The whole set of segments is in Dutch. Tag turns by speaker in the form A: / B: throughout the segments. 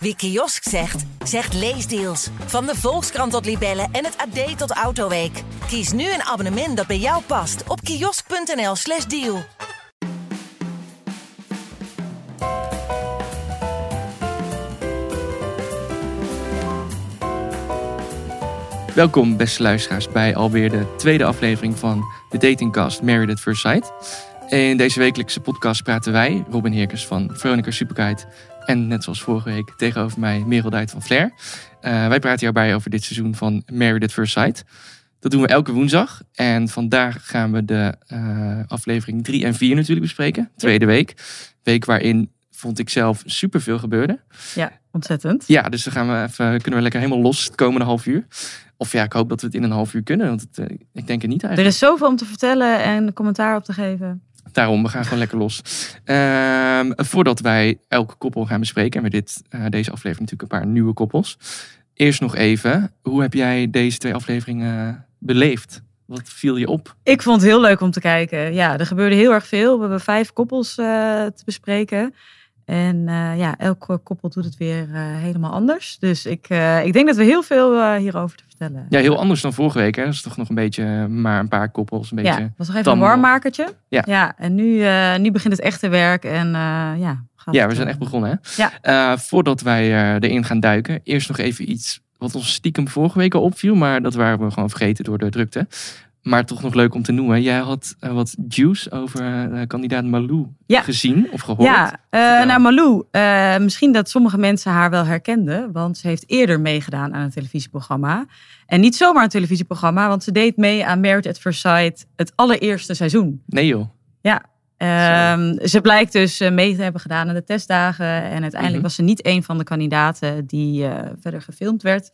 A: Wie kiosk zegt, zegt leesdeals. Van de Volkskrant tot Libellen en het AD tot Autoweek. Kies nu een abonnement dat bij jou past op kiosk.nl/slash deal.
B: Welkom, beste luisteraars, bij alweer de tweede aflevering van de datingcast Married at First Sight. In deze wekelijkse podcast praten wij, Robin Heerkens van Veronica Superguide... en net zoals vorige week tegenover mij Merel Duit van Flair. Eh, wij praten hierbij over dit seizoen van Married at First Sight. Dat doen we elke woensdag. En vandaag gaan we de eh, aflevering 3 en 4 natuurlijk bespreken. Tweede week. Week waarin, vond ik zelf, superveel gebeurde.
C: Ja, ontzettend.
B: Ja, dus dan gaan we even, kunnen we lekker helemaal los het komende half uur. Of ja, ik hoop dat we het in een half uur kunnen, want het, eh, ik denk het niet
C: Er
B: eigenlijk.
C: is zoveel om te vertellen en commentaar op te geven.
B: Daarom, we gaan gewoon lekker los. Ehm, voordat wij elke koppel gaan bespreken, hebben we dit, eh, deze aflevering natuurlijk een paar nieuwe koppels. Eerst nog even, hoe heb jij deze twee afleveringen beleefd? Wat viel je op?
C: Ik vond het heel leuk om te kijken. Ja, er gebeurde heel erg veel. We hebben vijf koppels eh, te bespreken. En eh, ja, elk koppel doet het weer eh, helemaal anders. Dus ik, eh, ik denk dat we heel veel eh, hierover te vertellen.
B: Ja, heel anders dan vorige week. Hè? Dat is toch nog een beetje eh, maar een paar koppels. Een beetje.
C: Ja, was nog even
B: tam-
C: een warmmakertje.
B: Ja.
C: en nu, eh, nu begint het echte werk. En eh, ja, gaat
B: Ja,
C: het,
B: we zijn
C: eh,
B: echt begonnen. Hè? Eh, voordat wij eh, erin gaan duiken, eerst nog even iets wat ons stiekem vorige week al opviel, maar dat waren we gewoon vergeten door de drukte. Maar toch nog leuk om te noemen. Jij had eh, wat juice over eh, kandidaat Malou
C: Ja.
B: gezien of gehoord.
C: Ja, eh,
B: Vertel.
C: nou Malou, eh, misschien dat sommige mensen haar wel herkenden, want ze heeft eerder meegedaan aan een televisieprogramma. En niet zomaar een televisieprogramma, want ze deed mee aan Married at First Sight het allereerste seizoen.
B: Nee joh.
C: Ehm, ze blijkt dus eh, mee te hebben gedaan aan de testdagen en uiteindelijk
B: Mhm.
C: was ze niet een van de kandidaten die eh, verder gefilmd werd.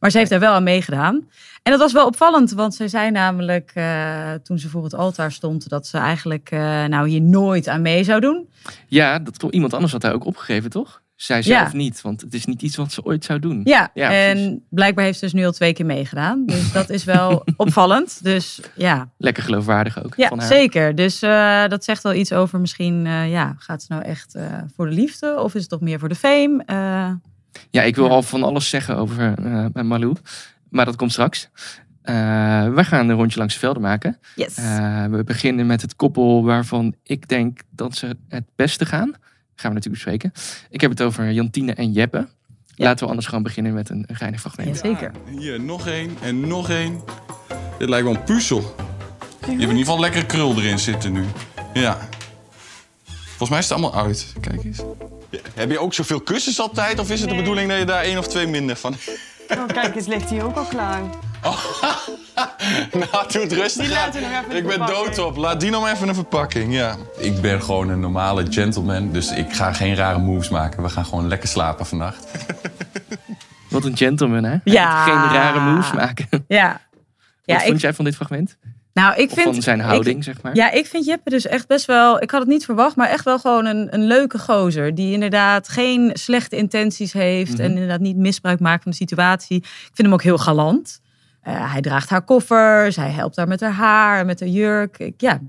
C: Maar ze heeft daar wel aan meegedaan. En dat was wel opvallend, want zij zei namelijk eh, toen ze voor het altaar stond dat ze eigenlijk eh, nou hier nooit aan mee zou doen.
B: Ja, dat klopt. Iemand anders had daar ook opgegeven, toch? Zij zelf
C: Ja.
B: niet, want het is niet iets wat ze ooit zou doen.
C: Ja,
B: Ja,
C: en
B: precies.
C: blijkbaar heeft ze dus nu al twee keer meegedaan. Dus dat is wel opvallend. Dus ja,
B: Lekker geloofwaardig ook van
C: ja
B: haar.
C: zeker. Dus eh, dat zegt wel iets over misschien, eh, ja, gaat ze nou echt eh, voor de liefde? Of is het toch meer voor de fame? Eh,
B: Ja, ik wil
C: Ja.
B: al van alles zeggen over eh Malou, maar dat komt straks. Eh, we gaan een rondje langs de velden maken.
C: yes.
B: Eh, we beginnen met het koppel waarvan ik denk dat ze het beste gaan. Gaan we natuurlijk bespreken. Ik heb het over Jantine en Jeppe. Laten we anders gewoon beginnen met een een geinig fragment.
C: ja, zeker.
D: Hier, nog één en nog één. Dit lijkt wel een puzzel. Je hebt in ieder geval lekker krul erin zitten nu. Ja. Volgens mij is het allemaal uit. Kijk eens. heb je ook zoveel kussens altijd? Of is het de bedoeling dat je daar één of twee minder van...
E: Oh, kijk, eens ligt hij ook al klaar.
D: nou, doe het rustig
E: Die laten
D: aan.
E: we nog even in
D: Ik
E: de
D: ben
E: verpakking.
D: dood op. Laat die nog maar even een verpakking, ja. Ik ben gewoon een normale gentleman, dus ik ga geen rare moves maken. We gaan gewoon lekker slapen vannacht.
B: Wat een gentleman, hè?
C: Ja.
B: Geen rare moves maken.
C: Ja. Ja,
B: Wat vond
C: ik,
B: jij van dit fragment?
C: nou, ik
B: Of
C: vind,
B: van zijn
C: ik-
B: houding, zeg maar?
C: Ja, ik vind Jeppe dus echt best wel. Ik had het niet verwacht, maar echt wel gewoon een, een leuke gozer. Die inderdaad geen slechte intenties heeft. En inderdaad niet misbruik maakt van de situatie. Ik vind hem ook heel galant. Eh, hij draagt haar koffers. Hij helpt haar met haar haar, met haar jurk. Ik, ja,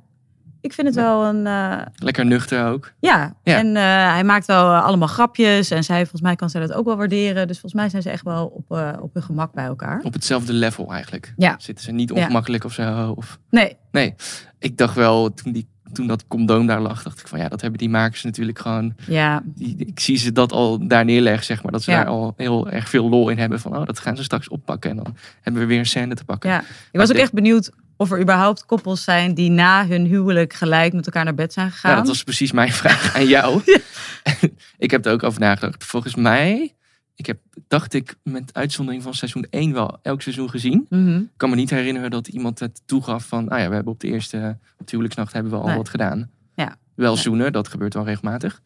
C: ik vind het wel een. eh,
B: Lekker nuchter ook.
C: ja.
B: Ja.
C: en eh, hij maakt wel eh, allemaal grapjes. En zij, volgens mij, kan zij dat ook wel waarderen. Dus volgens mij zijn ze echt wel op, eh, op hun gemak bij elkaar.
B: Op hetzelfde level eigenlijk.
C: Ja.
B: Zitten ze niet
C: Ja.
B: ongemakkelijk of zo? Of...
C: Nee,
B: Nee. Ik dacht wel, toen, die, toen dat condoom daar lag, dacht ik van ja, dat hebben die makers natuurlijk gewoon
C: ja.
B: die, ik zie ze dat al daar neerleggen, zeg maar. Dat ze
C: Ja.
B: daar al heel erg veel lol in hebben. Van, oh, dat gaan ze straks oppakken. En dan hebben we weer een scène te pakken.
C: Ja, ik was ook
B: dit-
C: echt benieuwd of er überhaupt koppels zijn die na hun huwelijk gelijk met elkaar naar bed zijn gegaan.
B: Nou, dat was precies mijn vraag aan jou. ik heb er ook over nagedacht. Volgens mij, ik heb, dacht ik met uitzondering van seizoen 1 wel elk seizoen gezien.
C: Mhm.
B: Ik kan me niet herinneren dat iemand het toegaf van... Ah ja, we hebben op de eerste op de huwelijksnacht hebben we al
C: Nee.
B: wat gedaan.
C: Ja.
B: Wel
C: Nee.
B: zoenen, dat gebeurt wel regelmatig.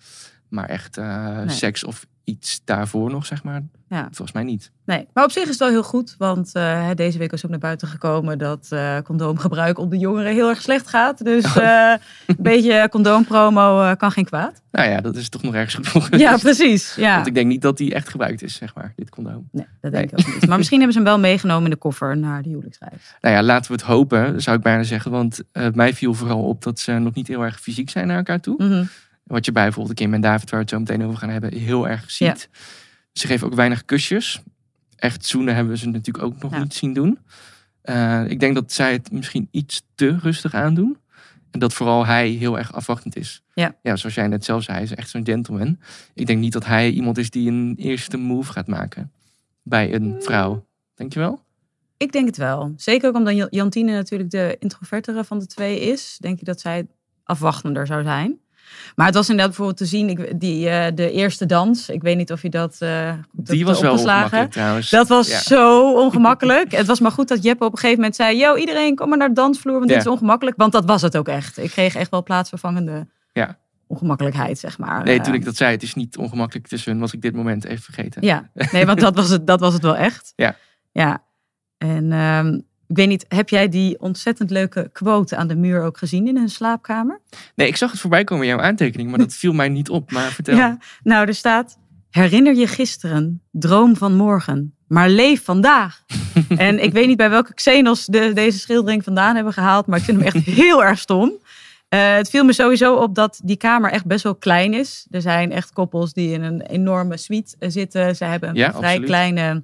B: Maar echt eh,
C: Nee.
B: seks of iets daarvoor nog, zeg maar.
C: Ja.
B: Volgens mij niet.
C: Nee, maar op zich is het wel heel goed, want eh, hè, deze week was ook naar buiten gekomen dat eh, condoomgebruik op de jongeren heel erg slecht gaat. Dus
B: Oh.
C: eh, een beetje condoompromo eh, kan geen kwaad.
B: Nou ja, dat is toch nog ergens goed voor
C: Ja, precies. Ja.
B: Want ik denk niet dat die echt gebruikt is, zeg maar, dit condoom.
C: Nee, dat denk ik ook niet. Maar misschien hebben ze hem wel meegenomen in de koffer naar de huwelijksreis.
B: Nou ja, laten we het hopen, zou ik bijna zeggen. Want eh, mij viel vooral op dat ze nog niet heel erg fysiek zijn naar elkaar toe.
C: Mhm.
B: Wat je bij bijvoorbeeld Kim en David, waar we het zo meteen over gaan hebben, heel erg ziet. Ze geven ook weinig kusjes. Echt zoenen hebben we ze natuurlijk ook nog
C: Ja.
B: niet zien doen. Eh, ik denk dat zij het misschien iets te rustig aandoen. En dat vooral hij heel erg afwachtend is.
C: Ja.
B: ja, zoals jij net zelf zei, hij is echt zo'n gentleman. Ik denk niet dat hij iemand is die een eerste move gaat maken bij een
C: Hmm.
B: vrouw. Denk je wel?
C: Ik denk het wel. Zeker ook omdat Jan- Jantine natuurlijk de introvertere van de twee is. Denk je dat zij afwachtender zou zijn. Maar het was inderdaad bijvoorbeeld te zien, ik, die, eh, de eerste dans. Ik weet niet of je dat eh, goed hebt,
B: Die
C: eh,
B: was wel
C: opgeslagen.
B: ongemakkelijk trouwens.
C: Dat was
B: Ja.
C: zo ongemakkelijk. het was maar goed dat Jeppe op een gegeven moment zei... Yo, iedereen, kom maar naar de dansvloer, want dit
B: Ja.
C: is ongemakkelijk. Want dat was het ook echt. Ik kreeg echt wel plaatsvervangende
B: Ja.
C: ongemakkelijkheid, zeg maar.
B: Nee,
C: Eh,
B: toen ik dat zei, het is niet ongemakkelijk tussen hun, was ik dit moment even vergeten.
C: Ja, nee, want dat was het, dat was het wel echt.
B: Ja.
C: Ja. En ehm, ik weet niet, heb jij die ontzettend leuke quote aan de muur ook gezien in hun slaapkamer?
B: Nee, ik zag het voorbij komen in jouw aantekening, maar dat viel mij niet op. Maar vertel.
C: Nou, er staat, herinner je gisteren, droom van morgen, maar leef vandaag. en ik weet niet bij welke Xenos de, deze schildering vandaan hebben gehaald, maar ik vind hem echt heel erg stom. Eh, het viel me sowieso op dat die kamer echt best wel klein is. Er zijn echt koppels die in een enorme suite eh, zitten. Ze hebben een
B: Ja,
C: vrij
B: absoluut.
C: kleine,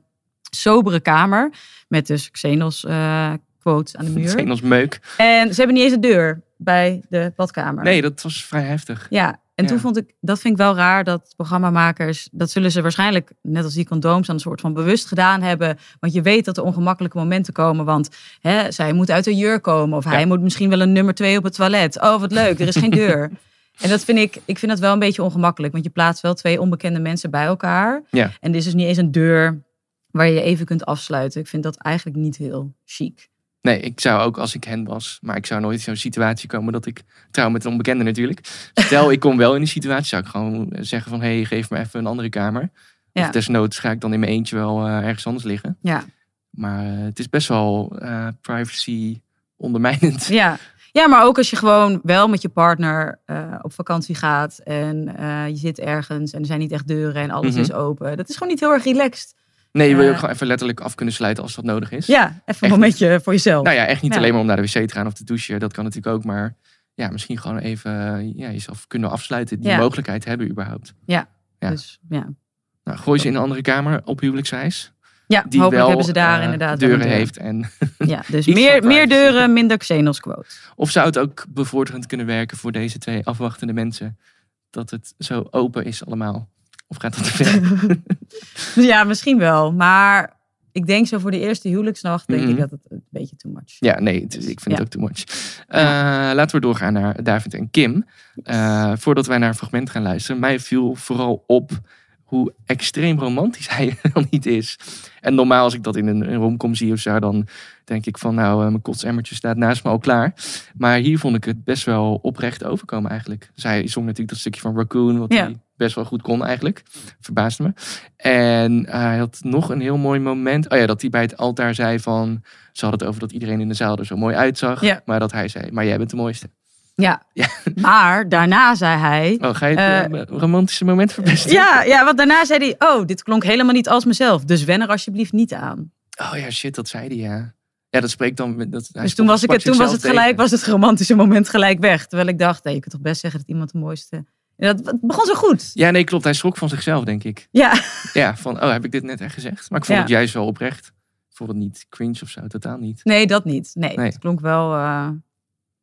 C: sobere kamer. Met dus Xenos eh, quotes aan de
B: Het is
C: muur.
B: Engels meuk.
C: En ze hebben niet eens een deur bij de badkamer.
B: Nee, dat was vrij heftig.
C: Ja, en toen
B: Ja.
C: vond ik, dat vind ik wel raar dat programmamakers, dat zullen ze waarschijnlijk, net als die condooms, aan een soort van bewust gedaan hebben. Want je weet dat er ongemakkelijke momenten komen, want hè, zij moet uit de jurk komen of hij moet misschien wel een nummer twee op het toilet. Oh, wat leuk, er is geen deur. En dat vind ik, ik vind dat wel een beetje ongemakkelijk, want je plaatst wel twee onbekende mensen bij elkaar.
B: Ja.
C: En dit is dus niet eens een deur waar je je even kunt afsluiten. Ik vind dat eigenlijk niet heel chic.
B: Nee, ik zou ook als ik hen was, maar ik zou nooit in zo'n situatie komen dat ik trouw met een onbekende natuurlijk. Stel, ik kom wel in die situatie, zou ik gewoon eh, zeggen van, hé, hey, geef me even een andere kamer. Of
C: Ja.
B: desnoods ga ik dan in mijn eentje wel eh, ergens anders liggen.
C: Ja.
B: Maar eh, het is best wel eh, privacy ondermijnend.
C: Ja. ja, maar ook als je gewoon wel met je partner eh, op vakantie gaat en eh, je zit ergens en er zijn niet echt deuren en alles
B: Mhm.
C: is open. Dat is gewoon niet heel erg relaxed.
B: Nee, je wil je ook
C: Eh.
B: gewoon even letterlijk af kunnen sluiten als dat nodig is.
C: Ja, even een
B: Echt
C: momentje voor jezelf.
B: Nou ja, echt niet
C: Ja.
B: alleen maar om naar de wc te gaan of te douchen. Dat kan natuurlijk ook. Maar ja, misschien gewoon even eh, ja, jezelf kunnen afsluiten. Die
C: Ja.
B: mogelijkheid hebben überhaupt. ja.
C: Dus, ja.
B: Nou, gooi ze in een andere kamer op huwelijksreis.
C: ja
B: Die
C: hopelijk
B: wel
C: hebben ze daar
B: eh,
C: inderdaad wel
B: deuren
C: een deur.
B: heeft. En,
C: Ja, dus
B: Iets
C: meer,
B: van privacy.
C: meer deuren, minder Xenos quote.
B: of zou het ook bevorderend kunnen werken voor deze twee afwachtende mensen? Dat het zo open is allemaal. Of gaat dat te ver?
C: Dus ja, misschien wel. Maar ik denk zo voor de eerste huwelijksnacht denk
B: Mhm.
C: ik dat het een beetje too much.
B: ja, nee, het is- ik vind het
C: Ja.
B: ook too much. Eh, Laten we doorgaan naar David en Kim. Eh, voordat wij naar een fragment gaan luisteren, mij viel vooral op hoe extreem romantisch hij wel niet is. En normaal als ik dat in een, een romcom zie of zo, dan denk ik van nou, eh, mijn kotsemmertje staat naast me al klaar. Maar hier vond ik het best wel oprecht overkomen eigenlijk. Zij zong natuurlijk dat stukje van Raccoon, wat
C: Ja.
B: hij best wel goed kon eigenlijk. Verbaasde me. En eh, hij had nog een heel mooi moment. Oh ja, dat hij bij het altaar zei van, ze had het over dat iedereen in de zaal er zo mooi uitzag.
C: Ja.
B: Maar dat hij zei, maar jij bent de mooiste.
C: Ja.
B: Ja.
C: Maar daarna zei hij...
B: Oh, ga je het
C: Eh,
B: eh, romantische moment verpesten?
C: Ja, ja, want daarna zei hij, oh, dit klonk helemaal niet als mezelf. Dus wen er alsjeblieft niet aan.
B: Oh ja, shit, dat zei hij, ja. Ja, dat spreekt dan... met- Dat, hij
C: Dus
B: sprak-
C: toen was, ik
B: sprak
C: het, toen was het
B: zichzelf
C: gelijk,
B: tegen.
C: was het romantische moment gelijk weg. Terwijl ik dacht, nee, je kunt toch best zeggen dat iemand de mooiste... En dat het begon zo goed.
B: Ja, nee, klopt. Hij schrok van zichzelf, denk ik.
C: Ja,
B: Ja, van, oh, heb ik dit net echt gezegd? Maar ik vond
C: Ja.
B: het juist wel oprecht. Ik vond het niet cringe of zo, totaal niet.
C: nee, dat niet. Nee,
B: Nee.
C: het klonk wel eh,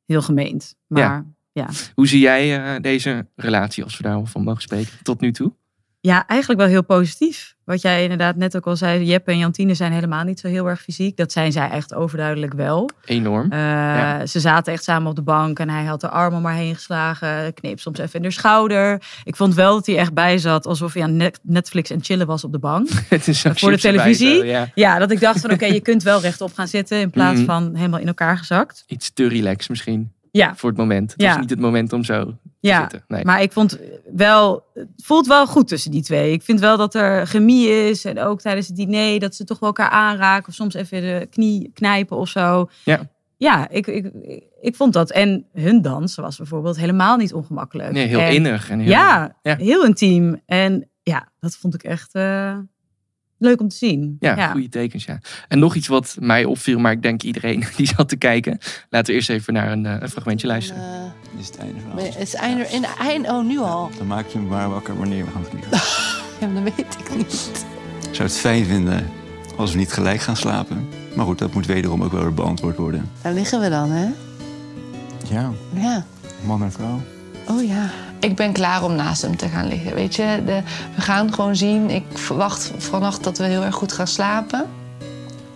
C: heel gemeend. Maar ja. Ja.
B: Hoe zie jij eh, deze relatie, als we daarvan mogen spreken, tot nu toe?
C: eigenlijk wel heel positief. Wat jij inderdaad net ook al zei, Jeppe en Jantine zijn helemaal niet zo heel erg fysiek. Dat zijn zij echt overduidelijk wel.
B: Enorm.
C: Eh, Ze zaten echt samen op de bank en hij had de arm om haar heen geslagen. Kneep soms even in haar schouder. Ik vond wel dat hij echt bij zat alsof hij aan net- Netflix en chillen was op de bank.
B: het is zo'n
C: voor de
B: chips erbij,
C: televisie?
B: zo, ja.
C: Ja, dat ik dacht van oké, je kunt wel rechtop gaan zitten in plaats
B: Mhm.
C: van helemaal in elkaar gezakt.
B: Iets te relaxed misschien,
C: Ja,
B: voor het moment. Het
C: Ja.
B: was niet het moment om zo te
C: ja.
B: zitten. Nee.
C: Maar ik vond wel, het voelt wel goed tussen die twee. Ik vind wel dat er chemie is en ook tijdens het diner dat ze toch wel elkaar aanraken of soms even de knie knijpen of zo.
B: Ja.
C: Ja, ik, ik, ik, ik vond dat. En hun dans was bijvoorbeeld helemaal niet ongemakkelijk.
B: nee, heel
C: En-
B: innig. En heel,
C: eh, Ja,
B: Ja.
C: heel intiem. En ja, dat vond ik echt eh, leuk om te zien.
B: Ja, goede tekens, ja. En nog iets wat mij opviel, maar ik denk iedereen die zat te kijken. Laten we eerst even naar een, eh, een fragmentje luisteren.
F: Eh,
G: Dit is het einde van
F: het
G: alles.
F: is einde, in de eind, oh nu al.
G: Dan maak je me maar wakker wanneer we gaan vliegen.
F: hem, dat weet ik niet.
G: Ik zou het fijn vinden als we niet gelijk gaan slapen. Maar goed, dat moet wederom ook wel weer beantwoord worden.
F: Daar liggen we dan, hè?
H: Ja,
F: Ja.
H: man en vrouw.
F: Oh ja. Ik ben klaar om naast hem te gaan liggen, weet je. De, we gaan gewoon zien. Ik verwacht vannacht dat we heel erg goed gaan slapen.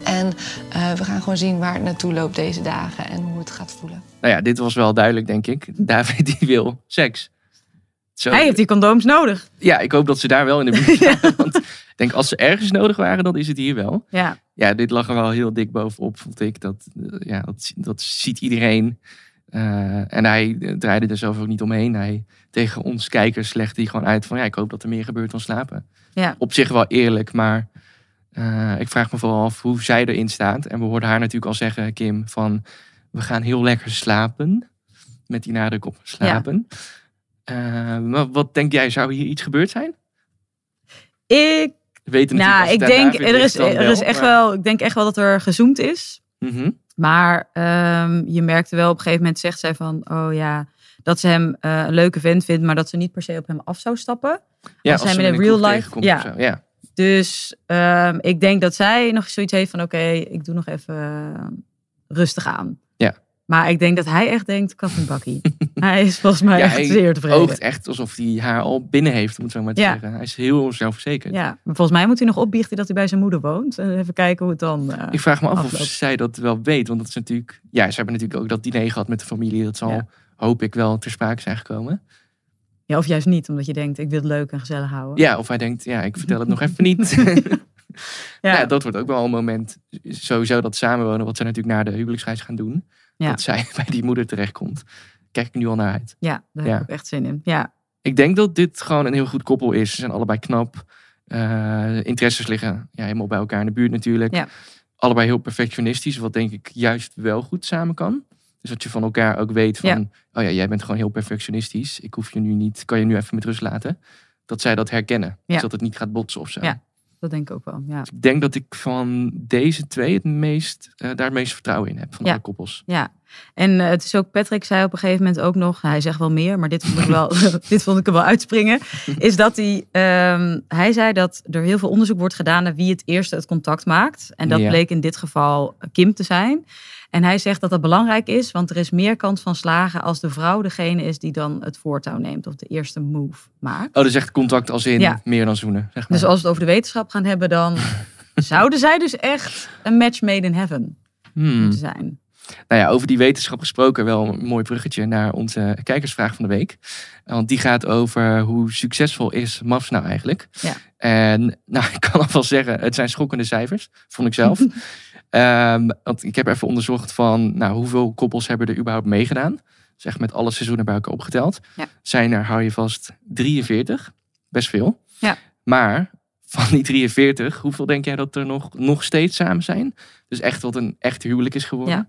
F: En eh, we gaan gewoon zien waar het naartoe loopt deze dagen en hoe het gaat voelen.
B: Nou ja, dit was wel duidelijk, denk ik. David die wil seks. Zo.
C: Hij heeft die condooms nodig.
B: Ja, ik hoop dat ze daar wel in de buurt waren. Want ik denk, als ze ergens nodig waren, dan is het hier wel.
C: Ja.
B: Ja, dit lag er wel heel dik bovenop, vond ik. Dat, eh, ja, dat, dat ziet iedereen. Eh, en hij eh, draaide er zelf ook niet omheen. Hij, tegen ons kijkers legde hij gewoon uit van... ja, ik hoop dat er meer gebeurt dan slapen.
C: Ja.
B: Op zich wel eerlijk, maar eh, ik vraag me vooral af hoe zij erin staat. En we hoorden haar natuurlijk al zeggen, Kim, van... we gaan heel lekker slapen. Met die nadruk op slapen. Eh, maar wat denk jij, zou hier iets gebeurd zijn?
C: Ik,
B: We weten natuurlijk
C: nou,
B: als
C: ik
B: het aan
C: denk,
B: David
C: er is,
B: dan
C: er is echt
B: maar-
C: wel, ik denk echt wel dat er gezoomd is.
B: Mhm.
C: Maar ehm, je merkte wel op een gegeven moment zegt zij van, oh ja, dat ze hem eh, een leuke vent vindt, maar dat ze niet per se op hem af zou stappen.
B: Ja,
C: als hij
B: ze
C: met
B: hem
C: een
B: in
C: real
B: kroeg
C: life-
B: tegenkomt
C: ja.
B: of zo, ja.
C: Dus ehm, ik denk dat zij nog zoiets heeft van, oké, ik doe nog even eh, rustig aan.
B: Ja.
C: Maar ik denk dat hij echt denkt, kat en bakkie. hij is volgens mij
B: Ja,
C: echt
B: hij
C: zeer tevreden.
B: Oogt echt alsof hij haar al binnen heeft, om het zo maar te
C: Ja.
B: zeggen. Hij is heel zelfverzekerd.
C: Ja, maar volgens mij moet hij nog opbiechten dat hij bij zijn moeder woont. En even kijken hoe het dan... eh,
B: Ik vraag me af of
C: Afloop.
B: zij dat wel weet. Want dat is natuurlijk. Ja, ze hebben natuurlijk ook dat diner gehad met de familie. Dat zal,
C: Ja.
B: hoop ik, wel ter sprake zijn gekomen.
C: ja, of juist niet, omdat je denkt, ik wil het leuk en gezellig houden.
B: Ja, of hij denkt, ja, ik vertel het nog even niet.
C: Ja.
B: Ja, nou, dat wordt ook wel een moment. Sowieso dat samenwonen, wat ze natuurlijk na de huwelijksreis gaan doen.
C: Ja.
B: Dat zij bij die moeder terechtkomt. Kijk ik nu al naar uit.
C: Ja, daar
B: Ja.
C: heb ik ook echt zin in. Ja,
B: Ik denk dat dit gewoon een heel goed koppel is. Ze zijn allebei knap. Eh, interesses liggen ja, helemaal bij elkaar in de buurt natuurlijk.
C: Ja.
B: Allebei heel perfectionistisch, wat denk ik juist wel goed samen kan. Dus dat je van elkaar ook weet van,
C: Ja.
B: oh ja, jij bent gewoon heel perfectionistisch. Ik hoef je nu niet, kan je nu even met rust laten. Dat zij dat herkennen. Dus
C: Ja.
B: dat het niet gaat botsen of zo.
C: Ja. dat denk ik ook wel. Ja.
B: Dus ik denk dat ik van deze twee het meest, eh, daar het meest vertrouwen in heb. Van
C: Ja.
B: alle koppels.
C: Ja, en eh, het is ook, Patrick zei op een gegeven moment ook nog, hij zegt wel meer, maar dit vond ik, wel, dit vond ik hem wel uitspringen, is dat hij, ehm, hij zei dat er heel veel onderzoek wordt gedaan naar wie het eerste het contact maakt. En dat
B: Ja.
C: bleek in dit geval eh, Kim te zijn. En hij zegt dat dat belangrijk is, want er is meer kans van slagen als de vrouw degene is die dan het voortouw neemt of de eerste move maakt.
B: Oh, dus echt contact als in
C: Ja.
B: meer dan zoenen. Zeg maar.
C: Dus als we het over de wetenschap gaan hebben, dan zouden zij dus echt een match made in heaven
B: Hmm.
C: moeten zijn.
B: Nou ja, over die wetenschap gesproken, wel een mooi bruggetje naar onze kijkersvraag van de week. Want die gaat over hoe succesvol is MAFS nou eigenlijk.
C: Ja.
B: En nou, ik kan alvast zeggen, het zijn schokkende cijfers, vond ik zelf. Ehm, want ik heb even onderzocht van, nou, hoeveel koppels hebben er überhaupt meegedaan? Zeg met alle seizoenen bij elkaar opgeteld.
C: Ja.
B: Zijn er, hou je vast, 43. Best veel.
C: Ja.
B: Maar van die 43, hoeveel denk jij dat er nog, nog steeds samen zijn? Dus echt wat een echt huwelijk is geworden.
C: Ja.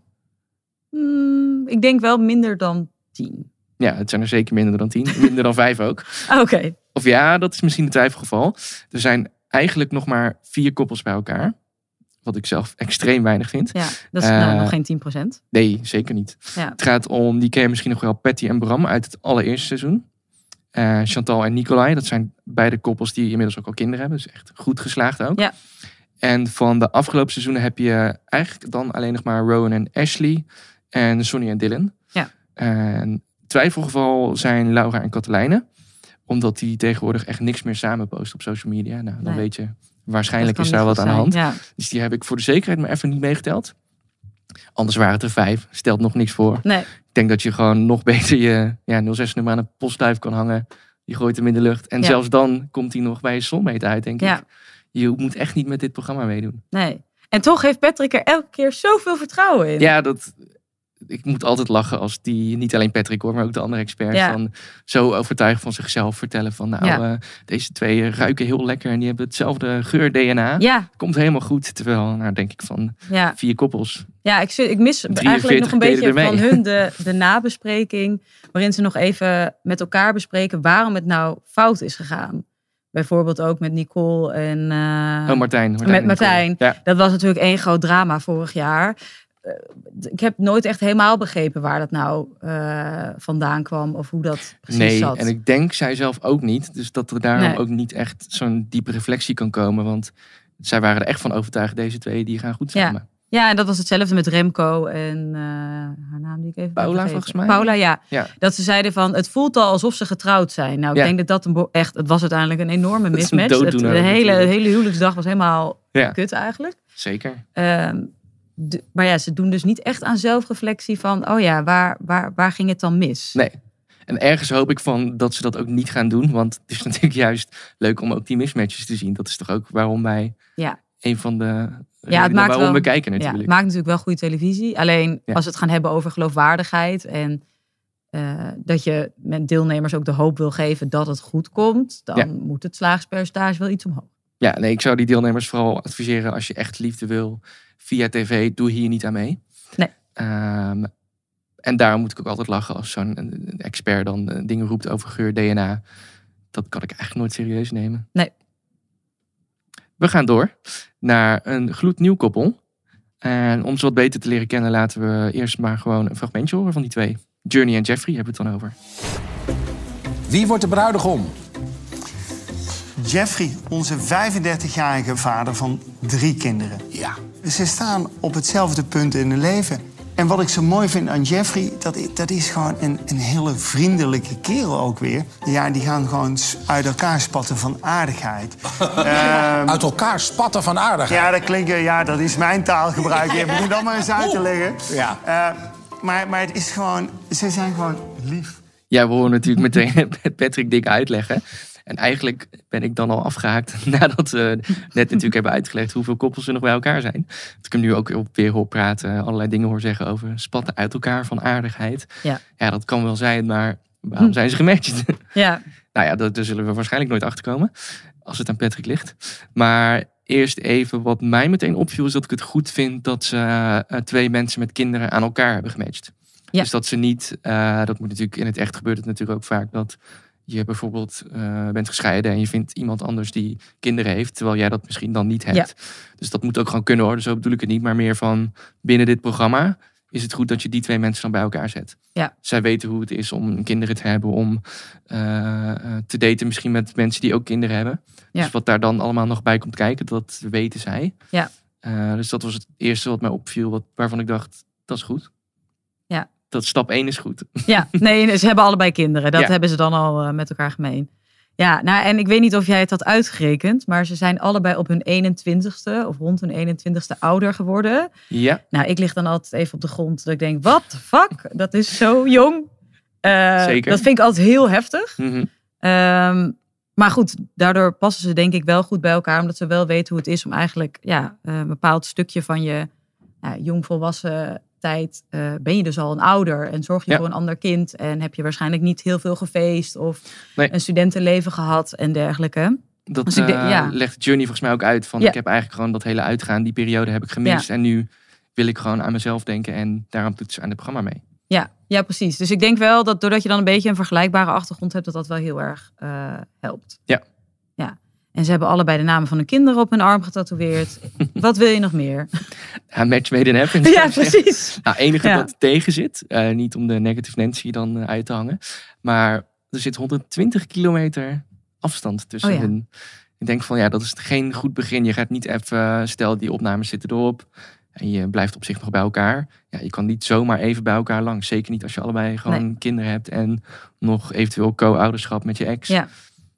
C: Hmm, ik denk wel minder dan tien. Ah,
B: Ja, het zijn er zeker minder dan tien. Minder dan vijf ook.
C: Oké,
B: Of ja, dat is misschien een twijfelgeval. Er zijn eigenlijk nog maar vier koppels bij elkaar. Wat ik zelf extreem weinig vind.
C: ja, dat is nou
B: Eh,
C: nog geen 10%.
B: Nee, zeker niet.
C: Ja.
B: Het gaat om, die ken je misschien nog wel, Patty en Bram uit het allereerste seizoen. Eh, Chantal en Nicolai, dat zijn beide koppels die inmiddels ook al kinderen hebben. Dus echt goed geslaagd ook.
C: Ja.
B: En van de afgelopen seizoenen heb je eigenlijk dan alleen nog maar Rowan en Ashley en Sonny en Dylan.
C: Ja.
B: En twijfelgeval zijn Laura en Katelijne, omdat die tegenwoordig echt niks meer samen posten op social media. Nou, dan
C: Nee.
B: weet je,
C: Dat
B: waarschijnlijk
C: kan
B: is daar
C: niet
B: wat
C: goed
B: aan de hand.
C: zijn. Ja,
B: Dus die heb ik voor de zekerheid maar even niet meegeteld. Anders waren het er vijf. Stelt nog niks voor.
C: nee,
B: Ik denk dat je gewoon nog beter je ja, 06-nummer aan een postduif kan hangen. Je gooit hem in de lucht. En
C: Ja.
B: zelfs dan komt hij nog bij je soulmate uit, denk
C: Ja.
B: ik. Je moet echt niet met dit programma meedoen.
C: nee. En toch heeft Patrick er elke keer zoveel vertrouwen in.
B: Ja, dat... Ik moet altijd lachen als die, niet alleen Patrick hoor, maar ook de andere experts,
C: Ja.
B: dan zo overtuigd van zichzelf vertellen van nou,
C: Ja.
B: eh, deze twee ruiken heel lekker en die hebben hetzelfde geur-DNA.
C: ja,
B: Komt helemaal goed. Terwijl, nou denk ik van
C: ja.
B: vier koppels,
C: ja ik, zit- ik mis
B: 43
C: eigenlijk nog een
B: deden
C: beetje van
B: ermee.
C: hun de, de nabespreking. Waarin ze nog even met elkaar bespreken waarom het nou fout is gegaan. Bijvoorbeeld ook met Nicole en... eh,
B: Oh, Martijn.
C: Met
B: en Nicole.
C: Martijn.
B: Ja.
C: Dat was natuurlijk één groot drama vorig jaar. eh, ik heb nooit echt helemaal begrepen waar dat nou eh, vandaan kwam of hoe dat precies
B: nee,
C: zat.
B: en ik denk zij zelf ook niet. Dus dat er daarom
C: Nee.
B: ook niet echt zo'n diepe reflectie kan komen. Want zij waren er echt van overtuigd, deze twee, die gaan goed
C: Ja.
B: samen.
C: Ja, en dat was hetzelfde met Remco en eh, haar naam die ik even ben
B: Paula,
C: vergeten.
B: volgens mij.
C: Paula, ja.
B: Ja.
C: Dat ze zeiden van, het voelt al alsof ze getrouwd zijn. Nou, ik
B: Ja.
C: denk dat dat een bo- echt, het was uiteindelijk een enorme
B: Dat is een
C: mismatch. Het- de
B: dooddoener
C: hele,
B: natuurlijk.
C: hele huwelijksdag was helemaal
B: Ja.
C: kut eigenlijk.
B: Zeker.
C: Ehm, de- maar ja, ze doen dus niet echt aan zelfreflectie van, oh ja, waar, waar, waar ging het dan mis?
B: Nee. En ergens hoop ik van dat ze dat ook niet gaan doen. Want het is natuurlijk juist leuk om ook die mismatches te zien. Dat is toch ook waarom wij
C: Ja.
B: een van de redenen
C: maakt
B: waarom
C: wel-
B: we kijken
C: Ja,
B: natuurlijk.
C: het maakt natuurlijk wel goede televisie. Alleen
B: Ja.
C: als we het gaan hebben over geloofwaardigheid en eh, dat je met deelnemers ook de hoop wil geven dat het goed komt, dan
B: Ja.
C: moet het slagingspercentage wel iets omhoog.
B: Ja, nee, ik zou die deelnemers vooral adviseren als je echt liefde wil via tv, doe hier niet aan mee.
C: Nee.
B: Ehm, en daarom moet ik ook altijd lachen als zo'n eh, expert dan eh, dingen roept over geur, DNA. Dat kan ik eigenlijk nooit serieus nemen.
C: Nee.
B: We gaan door naar een gloednieuw koppel. En om ze wat beter te leren kennen, laten we eerst maar gewoon een fragmentje horen van die twee. Journey en Jeffrey hebben we het dan over.
I: Wie wordt de bruidegom?
J: Jeffrey, onze 35-jarige vader van drie kinderen.
I: Ja.
J: Ze staan op hetzelfde punt in hun leven. En wat ik zo mooi vind aan Jeffrey, dat i- dat is gewoon een, een hele vriendelijke kerel ook weer. Ja, die gaan gewoon s- uit elkaar spatten van aardigheid. Ehm,
I: Uit elkaar spatten van aardigheid.
J: Ja, dat klinkt, eh, ja, dat is mijn taalgebruik. Ik begin dat maar eens uit te leggen.
I: Ja.
J: Eh, maar, maar het is gewoon, ze zijn gewoon lief.
B: Ja, we horen natuurlijk meteen Patrick Dick uitleggen. En eigenlijk ben ik dan al afgehaakt nadat we net natuurlijk hebben uitgelegd hoeveel koppels er nog bij elkaar zijn. Dat ik hem nu ook weer hoor praten, allerlei dingen hoor zeggen over spatten uit elkaar van aardigheid.
C: Ja.
B: Ja, dat kan wel zijn, maar waarom zijn ze gematcht?
C: Ja,
B: nou ja, dat- daar zullen we waarschijnlijk nooit achter komen als het aan Patrick ligt. Maar eerst even wat mij meteen opviel is dat ik het goed vind dat ze eh, twee mensen met kinderen aan elkaar hebben gematcht.
C: Ja.
B: Dus dat ze niet, eh, dat moet natuurlijk in het echt gebeurt het natuurlijk ook vaak dat je bijvoorbeeld eh, bent gescheiden en je vindt iemand anders die kinderen heeft, terwijl jij dat misschien dan niet hebt. Dus dat moet ook gewoon kunnen hoor. Zo bedoel ik het niet, maar meer van binnen dit programma is het goed dat je die twee mensen dan bij elkaar zet.
C: Ja.
B: Zij weten hoe het is om kinderen te hebben, om eh, eh, te daten misschien met mensen die ook kinderen hebben.
C: Ja.
B: Dus wat daar dan allemaal nog bij komt kijken, dat weten zij.
C: Ja.
B: Eh, dus dat was het eerste wat mij opviel, wat, waarvan ik dacht, dat is goed.
C: Ja.
B: Dat stap 1 is goed.
C: ja. nee, ze hebben allebei kinderen. Dat
B: Ja.
C: hebben ze dan al eh, met elkaar gemeen. Ja, nou en ik weet niet of jij het had uitgerekend, maar ze zijn allebei op hun 21ste of rond hun 21ste ouder geworden.
B: Ja,
C: Nou, ik lig dan altijd even op de grond. Dat ik denk, wat the fuck? Dat is zo jong. Eh,
B: Zeker.
C: Dat vind ik altijd heel heftig.
B: mhm,
C: Ehm, maar goed, daardoor passen ze denk ik wel goed bij elkaar. Omdat ze wel weten hoe het is om eigenlijk ja, eh, een bepaald stukje van je ja, jongvolwassen tijd... eh, ben je dus al een ouder en zorg je
B: Ja.
C: voor een ander kind. En heb je waarschijnlijk niet heel veel gefeest of
B: Nee.
C: een studentenleven gehad en dergelijke.
B: dat
C: Dus ik denk-
B: eh,
C: ja.
B: legt Journey volgens mij ook uit. Van,
C: Ja.
B: Ik heb eigenlijk gewoon dat hele uitgaan, die periode heb ik gemist. En nu wil ik gewoon aan mezelf denken en daarom doet ze aan het programma mee.
C: Ja, ja, precies. Dus ik denk wel dat doordat je dan een beetje een vergelijkbare achtergrond hebt, dat dat wel heel erg eh, helpt.
B: Ja.
C: ja. En ze hebben allebei de namen van hun kinderen op hun arm getatoeëerd. Wat wil je nog meer?
B: Ja, match made in heaven. zou
C: ja,
B: ik zeggen.
C: precies.
B: Nou, enige
C: Ja.
B: dat tegen zit, eh, niet om de negative Nancy dan eh, uit te hangen, maar er zit 120 kilometer afstand tussen
C: Oh ja.
B: hen. Ik denk van ja, dat is geen goed begin. Je gaat niet even, eh, stel die opnames zitten erop en je blijft op zich nog bij elkaar. Ja, je kan niet zomaar even bij elkaar langs. Zeker niet als je allebei gewoon kinderen hebt en nog eventueel co-ouderschap met je ex.
C: Ja.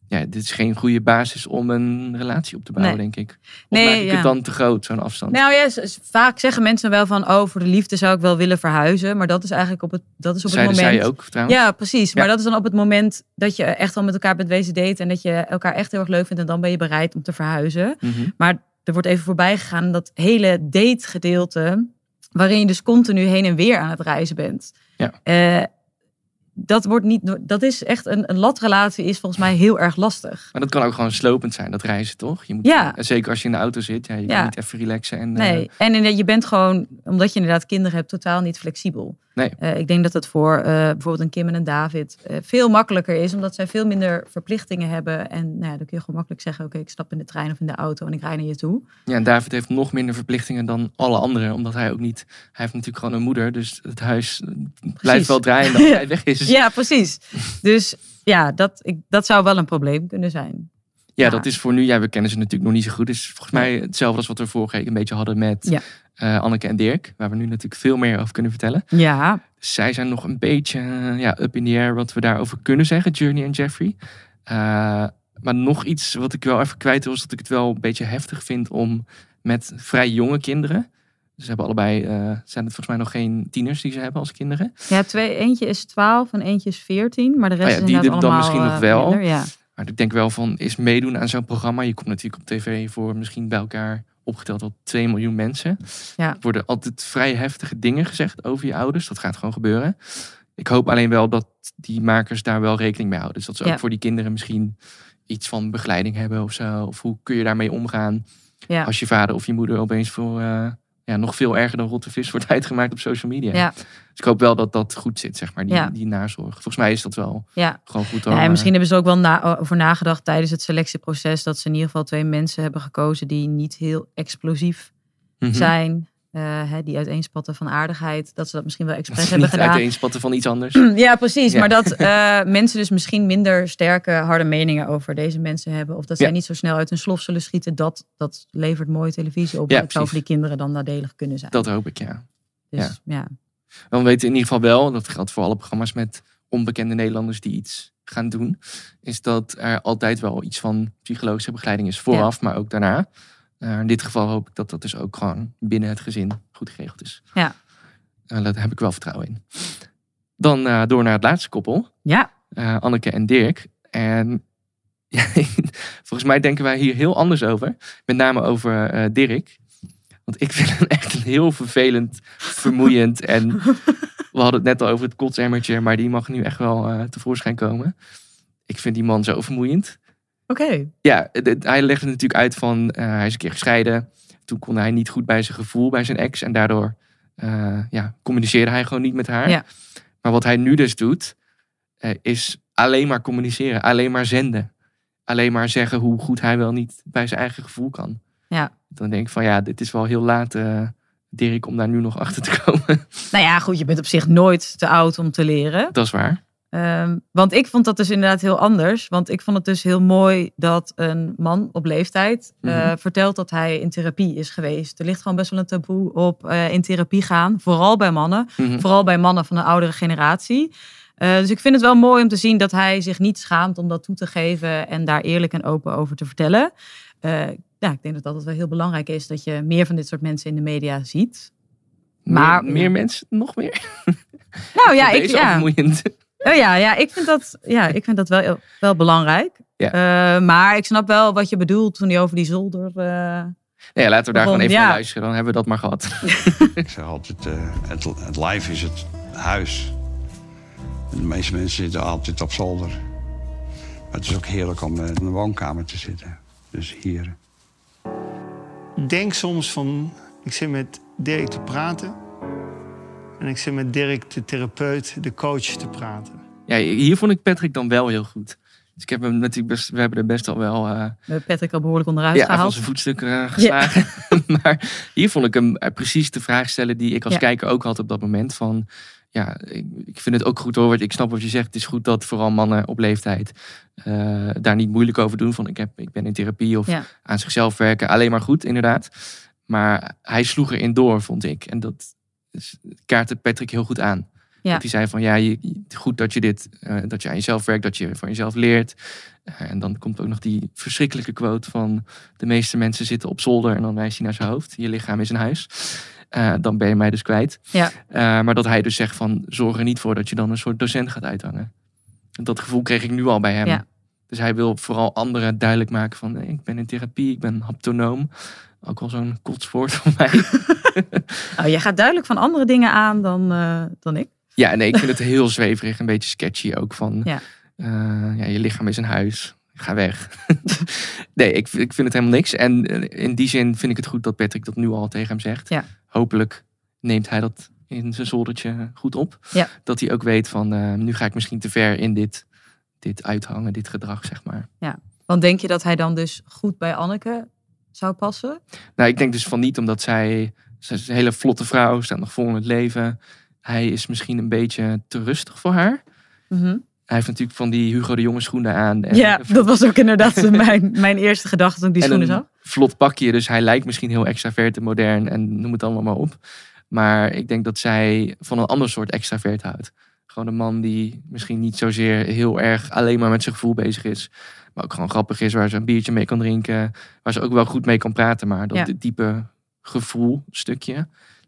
B: Ja, dit is geen goede basis om een relatie op te bouwen,
C: Nee.
B: denk ik. Of
C: Nee,
B: maak ik
C: ja.
B: het dan te groot, zo'n afstand?
C: Nou ja, s- s- vaak zeggen mensen wel van, oh, voor de liefde zou ik wel willen verhuizen. Maar dat is eigenlijk op het, dat is op
B: Zeiden
C: het moment.
B: zij ook trouwens.
C: Ja, precies.
B: Ja.
C: Maar dat is dan op het moment dat je echt al met elkaar bent wezen daten en dat je elkaar echt heel erg leuk vindt en dan ben je bereid om te verhuizen.
B: Mhm.
C: Maar er wordt even voorbij gegaan dat hele dategedeelte, waarin je dus continu heen en weer aan het reizen bent.
B: Ja.
C: Eh, dat wordt niet, door- dat is echt een, een latrelatie is volgens mij heel erg lastig.
B: Maar dat kan ook gewoon slopend zijn, dat reizen toch? Je moet,
C: Ja.
B: Zeker als je in de auto zit. Ja, je
C: Ja.
B: kan niet even relaxen. En, eh,
C: Nee, en in- je bent gewoon, omdat je inderdaad kinderen hebt, totaal niet flexibel.
B: Nee.
C: Eh, ik denk dat het voor eh, bijvoorbeeld een Kim en een David eh, veel makkelijker is, omdat zij veel minder verplichtingen hebben. En nou ja, dan kun je gewoon makkelijk zeggen: Oké, ik stap in de trein of in de auto en ik rij naar je toe.
B: Ja, en David heeft nog minder verplichtingen dan alle anderen. Omdat hij ook niet... Hij heeft natuurlijk gewoon een moeder. Dus het huis eh, blijft wel draaien dat
C: Ja.
B: hij weg is.
C: Ja, precies. Dus ja, dat, ik, dat zou wel een probleem kunnen zijn.
B: Ja, dat is voor nu. Ja, we kennen ze natuurlijk nog niet zo goed. Het is volgens mij hetzelfde als wat we vorige week een beetje hadden met
C: Ja.
B: eh, Anneke en Dirk. Waar we nu natuurlijk veel meer over kunnen vertellen.
C: Ja,
B: Zij zijn nog een beetje eh, ja, up in the air wat we daarover kunnen zeggen, Journey en Jeffrey. Eh, maar nog iets wat ik wel even kwijt wil, is dat ik het wel een beetje heftig vind om met vrij jonge kinderen. Ze hebben allebei, eh, zijn het volgens mij nog geen tieners die ze hebben als kinderen.
C: ja twee, eentje is 12 en eentje is 14, maar de
B: Nou
C: rest
B: ja,
C: is
B: die
C: inderdaad
B: dan
C: allemaal
B: misschien nog
C: eh,
B: wel.
C: minder, ja.
B: Maar ik denk wel van, is meedoen aan zo'n programma. Je komt natuurlijk op tv voor misschien bij elkaar opgeteld wel 2 miljoen mensen.
C: Ja.
B: Er worden altijd vrij heftige dingen gezegd over je ouders. Dat gaat gewoon gebeuren. Ik hoop alleen wel dat die makers daar wel rekening mee houden. Dus dat ze
C: Ja.
B: ook voor die kinderen misschien iets van begeleiding hebben of zo. Of hoe kun je daarmee omgaan
C: Ja.
B: als je vader of je moeder opeens voor eh, ja, nog veel erger dan rotte vis wordt uitgemaakt op social media.
C: Ja.
B: Dus ik hoop wel dat dat goed zit, zeg maar, die,
C: Ja.
B: die nazorg. Volgens mij is dat wel
C: Ja.
B: gewoon goed.
C: Ja,
B: al,
C: en
B: eh,
C: misschien hebben ze er ook wel na over nagedacht tijdens het selectieproces dat ze in ieder geval twee mensen hebben gekozen die niet heel explosief
B: Mhm.
C: zijn. eh, hè, die uiteenspatten van aardigheid, dat ze dat misschien wel expres
B: niet
C: hebben gedaan.
B: uiteenspatten van iets anders.
C: Ja, precies.
B: Ja.
C: Maar dat eh, mensen dus misschien minder sterke, harde meningen over deze mensen hebben. Of dat zij
B: Ja.
C: niet zo snel uit hun slof zullen schieten. Dat, dat levert mooie televisie op.
B: Ja,
C: maar het zou voor
B: precies.
C: die kinderen dan nadelig kunnen zijn.
B: Dat hoop ik, ja.
C: Dus ja.
B: Dan weten we in ieder geval wel, en dat geldt voor alle programma's met onbekende Nederlanders die iets gaan doen, is dat er altijd wel iets van psychologische begeleiding is vooraf, maar ook daarna. Eh, in dit geval hoop ik dat dat dus ook gewoon binnen het gezin goed geregeld is.
C: Ja.
B: Eh, daar heb ik wel vertrouwen in. Dan eh, door naar het laatste koppel.
C: Ja.
B: eh, Anneke en Dirk. En ja, volgens mij denken wij hier heel anders over. Met name over eh, Dirk. Want ik vind hem echt een heel vervelend, vermoeiend. En we hadden het net al over het kotsemmertje. Maar die mag nu echt wel eh, tevoorschijn komen. Ik vind die man zo vermoeiend.
C: Oké.
B: Ja, de- hij legde het natuurlijk uit van eh, hij is een keer gescheiden. Toen kon hij niet goed bij zijn gevoel bij zijn ex. En daardoor eh, ja, communiceerde hij gewoon niet met haar.
C: Ja.
B: Maar wat hij nu dus doet, eh, is alleen maar communiceren. Alleen maar zenden. Alleen maar zeggen hoe goed hij wel niet bij zijn eigen gevoel kan.
C: Ja.
B: Dan denk ik van ja, dit is wel heel laat, eh Dirk, om daar nu nog achter te komen.
C: Nou ja, goed. Je bent op zich nooit te oud om te leren.
B: Dat is waar.
C: Ehm, want ik vond dat dus inderdaad heel anders. Want ik vond het dus heel mooi dat een man op leeftijd eh,
B: Mhm.
C: vertelt dat hij in therapie is geweest. Er ligt gewoon best wel een taboe op eh, in therapie gaan. Vooral bij mannen.
B: Mhm.
C: Vooral bij mannen van de oudere generatie. Eh, dus ik vind het wel mooi om te zien dat hij zich niet schaamt om dat toe te geven en daar eerlijk en open over te vertellen. Eh, ja, ik denk dat dat wel heel belangrijk is dat je meer van dit soort mensen in de media ziet. Maar-
B: meer, meer mensen, nog meer.
C: Nou ja, ik,
B: Deze al
C: ja.
B: vermoeiend.
C: Oh ja, ja, ik vind dat, ja, ik vind dat wel, wel belangrijk.
B: Ja.
C: Eh, maar ik snap wel wat je bedoelt toen hij over die zolder. eh,
B: Nee, laten we daar
C: Waarom?
B: gewoon even
C: Ja.
B: naar luisteren. Dan hebben we dat maar gehad.
K: Ik zeg altijd, eh, het, het lijf is het huis. En de meeste mensen zitten altijd op zolder. Maar het is ook heerlijk om eh, in de woonkamer te zitten. Dus hier.
J: denk soms van, ik zit met Dirk te praten. En ik zit met Dirk, de therapeut, de coach te praten.
B: Ja, hier vond ik Patrick dan wel heel goed. Dus ik heb hem natuurlijk best, we hebben er best al wel eh,
C: we hebben Patrick al behoorlijk onderuit
B: ja, van
C: gehaald.
B: zijn voetstuk eh, geslagen. maar hier vond ik hem eh, precies de vraag stellen die ik als
C: Ja.
B: kijker ook had op dat moment. Van ja, ik, ik vind het ook goed hoor, want ik snap wat je zegt. Het is goed dat vooral mannen op leeftijd eh, daar niet moeilijk over doen. Van ik, heb, ik ben in therapie of
C: Ja.
B: aan zichzelf werken. Alleen maar goed, inderdaad. Maar hij sloeg erin door, vond ik. En dat is- kaartte Patrick heel goed aan.
C: Ja.
B: Dat hij zei van ja, je, je- goed dat je dit, eh, dat je aan jezelf werkt, dat je van jezelf leert. Eh, en dan komt ook nog die verschrikkelijke quote van de meeste mensen zitten op zolder en dan wijst hij naar zijn hoofd. Je lichaam is een huis. Eh, dan ben je mij dus kwijt.
C: Ja.
B: Eh, maar dat hij dus zegt van zorg er niet voor dat je dan een soort docent gaat uithangen. En Dat gevoel kreeg ik nu al bij hem.
C: Ja.
B: Dus hij wil vooral anderen duidelijk maken van nee, ik ben in therapie, ik ben haptonoom. Ook al zo'n kotswoord voor mij.
C: Nou, jij gaat duidelijk van andere dingen aan dan, eh, dan ik.
B: Ja, nee, ik vind het heel zweverig, een beetje sketchy ook van
C: Ja.
B: eh, ja, je lichaam is een huis. Ga weg. nee, ik, ik vind het helemaal niks. En eh, in die zin vind ik het goed dat Patrick dat nu al tegen hem zegt.
C: Ja.
B: Hopelijk neemt hij dat in zijn zoldertje goed op.
C: Ja.
B: Dat hij ook weet van eh, nu ga ik misschien te ver in dit, dit uithangen, dit gedrag, zeg maar.
C: Ja. Want denk je dat hij dan dus goed bij Anneke zou passen?
B: Nou, ik denk dus van niet, omdat zij, zij is een hele vlotte vrouw, staat nog vol in het leven. Hij is misschien een beetje te rustig voor haar.
C: Mhm.
B: Hij heeft natuurlijk van die Hugo de Jonge schoenen aan. En
C: Ja, dat was ook inderdaad mijn, mijn eerste gedachte toen ik die
B: en
C: schoenen
B: een
C: zag.
B: Vlot pakje, dus hij lijkt misschien heel extravert en modern en noem het allemaal maar op. Maar ik denk dat zij van een ander soort extravert houdt. Gewoon een man die misschien niet zozeer heel erg alleen maar met zijn gevoel bezig is. Maar ook gewoon grappig is, waar ze een biertje mee kan drinken. Waar ze ook wel goed mee kan praten, maar dat
C: Ja.
B: dit diepe gevoel stukje.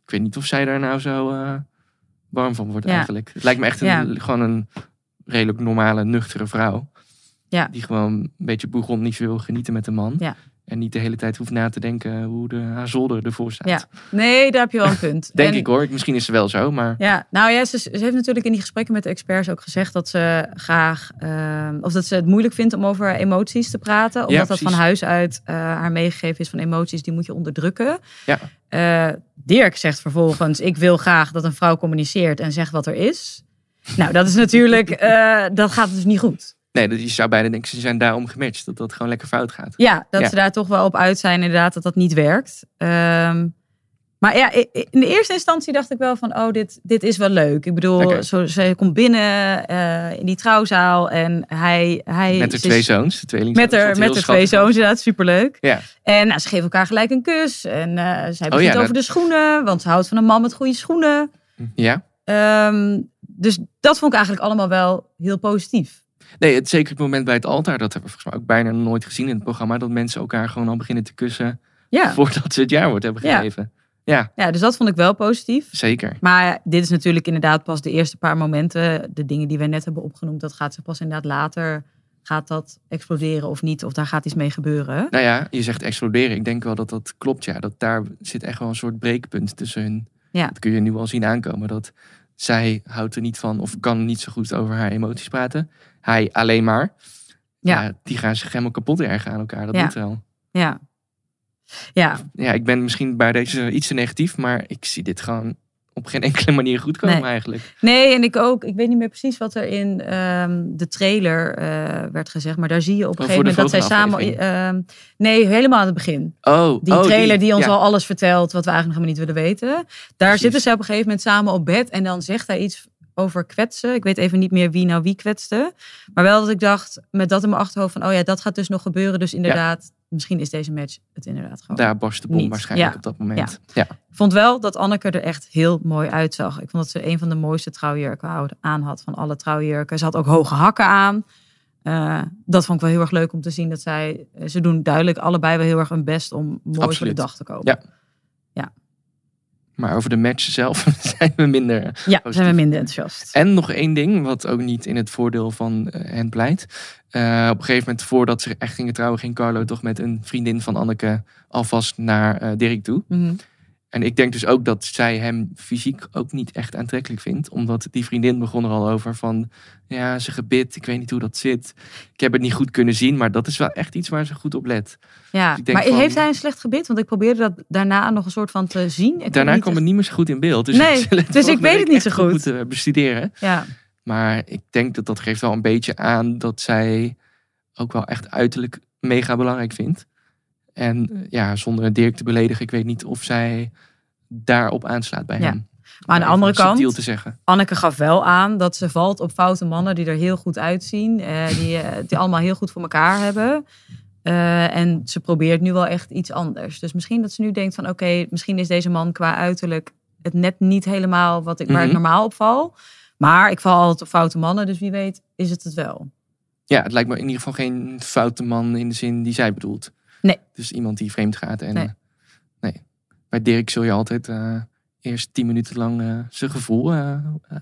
B: Ik weet niet of zij daar nou zo eh, warm van wordt
C: Ja.
B: eigenlijk. Het lijkt me echt een,
C: Ja.
B: gewoon een redelijk normale, nuchtere vrouw.
C: Ja.
B: Die gewoon een beetje bourgondisch wil genieten met een man.
C: Ja.
B: En niet de hele tijd hoeft na te denken hoe de, haar zolder ervoor staat.
C: Ja. Nee, daar heb je wel een punt.
B: Denk
C: En-
B: ik hoor. Misschien is ze wel zo, maar
C: Ja, nou ja, ze, ze heeft natuurlijk in die gesprekken met de experts ook gezegd dat ze graag, ehm, of dat ze het moeilijk vindt om over emoties te praten. Omdat dat van
B: precies.
C: huis uit eh, haar meegegeven is van emoties, die moet je onderdrukken.
B: Ja.
C: Eh, Dirk zegt vervolgens, ik wil graag dat een vrouw communiceert en zegt wat er is. Nou, dat is natuurlijk, eh, dat gaat dus niet goed.
B: nee, dat je zou bijna denken, ze zijn daarom gematcht. Dat dat gewoon lekker fout gaat.
C: Ja, dat
B: Ja.
C: ze daar toch wel op uit zijn, inderdaad, dat dat niet werkt. Ehm, maar ja, i- i- in de eerste instantie dacht ik wel van, oh, dit, dit is wel leuk. Ik bedoel,
B: Oké.
C: zo, ze komt binnen eh, in die trouwzaal en hij... hij
B: met haar
C: ze
B: twee
C: is-
B: zoons, de tweelingzoons.
C: Met haar,
B: wat
C: met
B: heel
C: haar twee
B: schattig
C: zoons, inderdaad, superleuk.
B: Ja. Oh
C: En nou, ze geven elkaar gelijk een kus. En eh, zij begint
B: ja, dat-
C: over de schoenen, want ze houdt van een man met goede schoenen.
B: was. Ja.
C: Ehm, dus dat vond ik eigenlijk allemaal wel heel positief.
B: Nee, het, zeker het moment bij het altaar, dat hebben we volgens mij ook bijna nog nooit gezien in het programma, dat mensen elkaar gewoon al beginnen te kussen
C: Ja.
B: voordat ze het jaarwoord hebben
C: Ja.
B: gegeven. Ja,
C: ja, dus dat vond ik wel positief.
B: zeker.
C: Maar dit is natuurlijk inderdaad pas de eerste paar momenten. De dingen die wij net hebben opgenoemd, dat gaat ze pas inderdaad later. Gaat dat exploderen of niet? Of daar gaat iets mee gebeuren?
B: Nou ja, je zegt exploderen. Ik denk wel dat dat klopt, ja. Dat daar zit echt wel een soort breekpunt tussen hun.
C: Ja.
B: Dat kun je nu al zien aankomen. Dat zij houdt er niet van of kan niet zo goed over haar emoties praten. Hij alleen maar.
C: Ja.
B: die gaan zich helemaal kapot ergen aan elkaar. Dat
C: Ja.
B: moet wel.
C: Ja. Ja,
B: Ja, ik ben misschien bij deze iets te negatief, maar ik zie dit gewoon op geen enkele manier goed komen
C: Nee.
B: eigenlijk.
C: nee, en ik ook. Ik weet niet meer precies wat er in ehm, de trailer eh, werd gezegd. Maar daar zie je op een
B: Oh,
C: gegeven
B: voor de
C: moment dat zij samen.
B: volgende
C: ehm, nee, helemaal aan het begin.
B: Oh,
C: Die
B: oh,
C: trailer die ons
B: ja.
C: al alles vertelt wat we eigenlijk nog helemaal niet willen weten. Daar
B: Precies.
C: zitten ze op een gegeven moment samen op bed en dan zegt hij iets over kwetsen. Ik weet even niet meer wie nou wie kwetste. Maar wel dat ik dacht, met dat in mijn achterhoofd van, oh ja, dat gaat dus nog gebeuren. Dus inderdaad, misschien is deze match het inderdaad gewoon.
B: Daar barst de bom
C: Niet.
B: waarschijnlijk
C: Ja.
B: op dat moment. Ja.
C: Ik vond wel dat Anneke er echt heel mooi uitzag. Ik vond dat ze een van de mooiste trouwjurken houd- aan had van alle trouwjurken. Ze had ook hoge hakken aan. Eh, dat vond ik wel heel erg leuk om te zien. Dat zij, eh, ze doen duidelijk allebei wel heel erg hun best om mooi voor de
B: Absoluut.
C: dag te komen.
B: Ja.
C: Ja.
B: Maar over de match zelf zijn we minder
C: Ja, zijn we
B: positief.
C: minder enthousiast.
B: En nog één ding, wat ook niet in het voordeel van eh, hen pleit. Eh, op een gegeven moment, voordat ze echt gingen trouwen, ging Carlo toch met een vriendin van Anneke alvast naar eh, Dirk toe.
C: Mhm.
B: En ik denk dus ook dat zij hem fysiek ook niet echt aantrekkelijk vindt. Omdat die vriendin begon er al over van, ja, ze gebit, ik weet niet hoe dat zit. Ik heb het niet goed kunnen zien, maar dat is wel echt iets waar ze goed op let.
C: Ja,
B: Dus ik denk
C: maar
B: van-
C: heeft hij een slecht gebit? Want ik probeerde dat daarna nog een soort van te zien. Ik
B: Daarna
C: heb
B: kwam het niet meer zo goed in beeld. Dus ik
C: Nee,
B: zal
C: dus ik
B: volgende
C: weet het
B: week
C: niet zo
B: echt goed
C: goed.
B: moeten bestuderen.
C: echt- Ja,
B: Maar ik denk dat dat geeft wel een beetje aan dat zij ook wel echt uiterlijk mega belangrijk vindt. En eh, ja, zonder Dirk te beledigen, ik weet niet of zij daarop aanslaat bij
C: Ja.
B: hem.
C: maar aan de
B: Even
C: andere
B: subtiel
C: kant,
B: te zeggen.
C: Anneke gaf wel aan dat ze valt op foute mannen die er heel goed uitzien. eh, die het allemaal heel goed voor elkaar hebben. Eh, en ze probeert nu wel echt iets anders. Dus misschien dat ze nu denkt van oké, misschien is deze man qua uiterlijk het net niet helemaal wat ik, waar ik
B: Mhm.
C: normaal op val. Maar ik val altijd op foute mannen, dus wie weet is het het wel.
B: Ja, het lijkt me in ieder geval geen foute man in de zin die zij bedoelt.
C: Nee.
B: Dus iemand die vreemd gaat. En, eh,
C: Nee.
B: nee. Bij Dirk zul je altijd eh, eerst tien minuten lang eh, zijn gevoel eh, eh,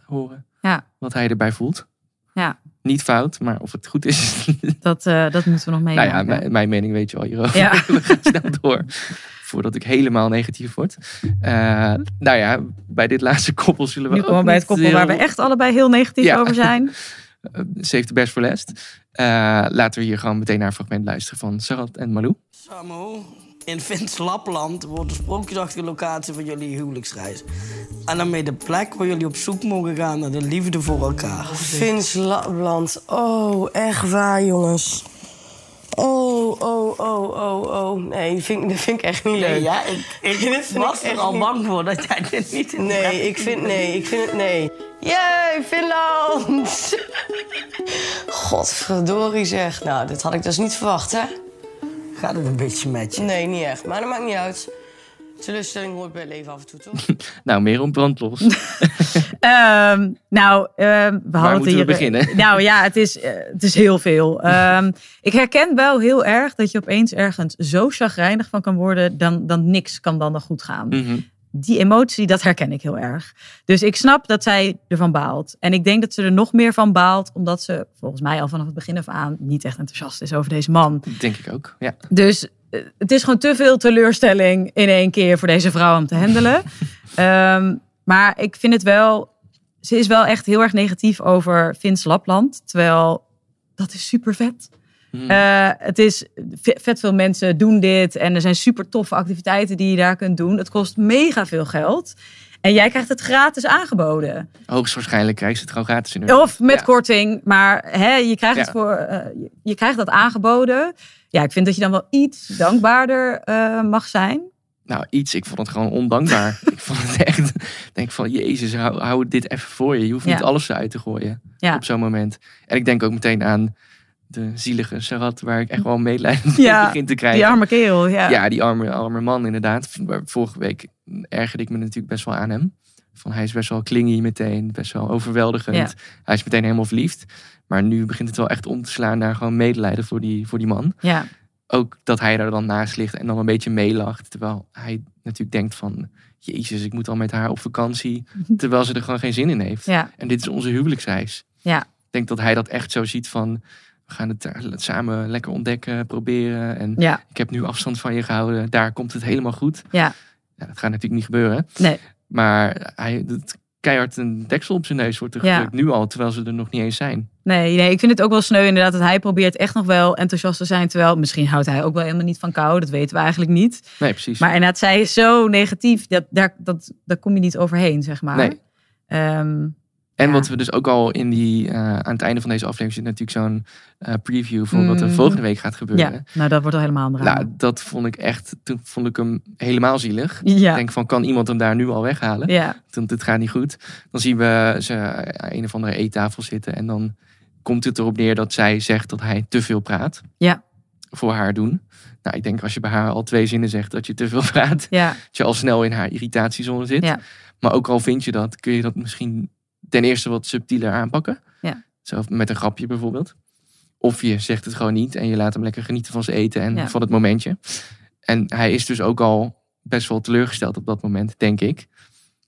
B: horen.
C: Ja.
B: Wat hij erbij voelt.
C: Ja.
B: Niet fout, maar of het goed is,
C: Dat, eh, dat moeten we
B: Nou
C: nog meemaken.
B: ja, mijn, mijn mening weet je al hierover.
C: Ja.
B: We gaan snel door. Voordat ik helemaal negatief word. Eh, nou ja, bij dit laatste koppel zullen we
C: Nu
B: ook
C: komen we bij het
B: niet
C: koppel waar we
B: heel-
C: echt allebei heel negatief
B: Ja.
C: over zijn.
B: eh, Ze heeft de best voor last. Eh, laten we hier gewoon meteen naar een fragment luisteren van Sarat en Malou.
L: Samo, In Fins Lapland wordt de sprookjesachtige locatie van jullie huwelijksreis. En daarmee de plek waar jullie op zoek mogen gaan naar de liefde voor elkaar.
M: Vins Lapland. Oh, echt waar, jongens. Oh, oh, oh, oh, oh. Nee, dat vind, ik- dat vind ik echt niet leuk.
L: Nee, ja, ik, ik
M: Dit vind
L: was
M: ik echt
L: er al
M: niet-
L: bang voor dat jij dit niet in de
M: Nee,
L: gaten
M: ik vind,
L: hield.
M: nee, ik vind het, nee. Jee, Finland! Godverdorie zeg. Nou, dit had ik dus niet verwacht, hè?
L: Gaat het een beetje met je?
M: Nee, niet echt. Maar dat maakt niet uit. Teleurstelling hoort bij het leven af en toe, toch?
B: Nou, meer om brandlos.
C: Ehm, nou, ehm, we hadden
B: moeten we
C: hier,
B: beginnen?
C: Nou ja, het is, eh, het is heel veel. Ehm, ik herken wel heel erg dat je opeens ergens zo chagrijnig van kan worden... dan, dan niks kan dan nog goed gaan.
B: Mhm.
C: Die emotie, dat herken ik heel erg. Dus ik snap dat zij ervan baalt. En ik denk dat ze er nog meer van baalt... omdat ze volgens mij al vanaf het begin af aan niet echt enthousiast is over deze man.
B: Denk ik ook, ja.
C: Dus eh, het is gewoon te veel teleurstelling in één keer voor deze vrouw om te handelen. Ehm, maar ik vind het wel. Ze is wel echt heel erg negatief over Fins Lapland. Terwijl dat is super vet. Eh, het is ve- vet veel mensen doen dit. En er zijn super toffe activiteiten die je daar kunt doen. Het kost mega veel geld. En jij krijgt het gratis aangeboden.
B: Hoogstwaarschijnlijk krijgt ze het gewoon gratis in
C: Of met korting, maar hè, je, krijgt het
B: Ja.
C: voor, eh, je, je krijgt dat aangeboden. Ja, ik vind dat je dan wel iets dankbaarder eh, mag zijn.
B: Nou, iets. Ik vond het gewoon ondankbaar. ik vond het echt... ik denk van, jezus, hou, hou dit even voor je. Je hoeft
C: Ja.
B: niet alles eruit te gooien
C: Ja.
B: op zo'n moment. En ik denk ook meteen aan de zielige Sarat, waar ik echt wel medelijden mee
C: Ja,
B: begin te krijgen.
C: die arme kerel, ja.
B: die arme, arme man inderdaad. Maar Vorige week ergerde ik me natuurlijk best wel aan hem. Van, hij is best wel klingy meteen, best wel overweldigend.
C: Ja.
B: Hij is meteen helemaal verliefd. Maar nu begint het wel echt om te slaan naar gewoon medelijden voor die, voor die man
C: Ja,
B: ook dat hij daar dan naast ligt en dan een beetje meelacht. Terwijl hij natuurlijk denkt van... Jezus, ik moet al met haar op vakantie. Terwijl ze er gewoon geen zin in heeft.
C: Ja.
B: En dit is onze huwelijksreis.
C: ja,
B: Ik denk dat hij dat echt zo ziet van... We gaan het daar samen lekker ontdekken, proberen. En
C: Ja.
B: ik heb nu afstand van je gehouden. Daar komt het helemaal goed.
C: ja.
B: Ja, dat gaat natuurlijk niet gebeuren.
C: Nee.
B: Maar hij doet keihard een deksel op zijn neus wordt er
C: Ja.
B: gedrukt. Nu al, terwijl ze er nog niet eens zijn.
C: Nee, nee, ik vind het ook wel sneu inderdaad dat hij probeert echt nog wel enthousiast te zijn. Terwijl misschien houdt hij ook wel helemaal niet van kou. Dat weten we eigenlijk niet.
B: Nee, precies.
C: Maar inderdaad, zij is zo negatief. Dat, daar, dat, daar kom je niet overheen, zeg maar.
B: Nee.
C: Ehm,
B: En wat we dus ook al in die, eh, aan het einde van deze aflevering zit natuurlijk zo'n eh, preview van wat er
C: Mm.
B: volgende week gaat gebeuren.
C: ja, nou dat wordt al helemaal anders.
B: Nou, dat vond ik echt, toen vond ik hem helemaal zielig.
C: Ja.
B: Ik denk van, kan iemand hem daar nu al weghalen?
C: Ja.
B: Want het gaat niet goed. Dan zien we ze aan een of andere eettafel zitten en dan komt het erop neer dat zij zegt dat hij te veel praat
C: Ja,
B: voor haar doen. Nou, ik denk als je bij haar al twee zinnen zegt dat je te veel praat,
C: ja,
B: dat je al snel in haar irritatiezone zit.
C: ja,
B: Maar ook al vind je dat, kun je dat misschien ten eerste wat subtieler aanpakken.
C: ja.
B: Zo met een grapje bijvoorbeeld. Of je zegt het gewoon niet en je laat hem lekker genieten van zijn eten en
C: Ja.
B: van het momentje. En hij is dus ook al best wel teleurgesteld op dat moment, denk ik.